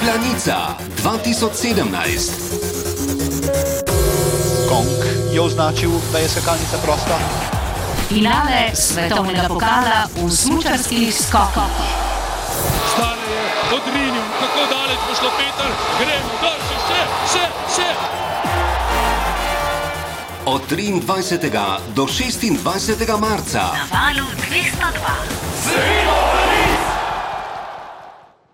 Planica 2017. Kong je označil, da je skakalnica prosta. Finale svetovnega pokala v smučarskih skokih. Stane je odrinil, kako daleč bo šlo Peter, gremo, da še, še, še, še. Od 23. do 26. marca Na valu 202. Seveda!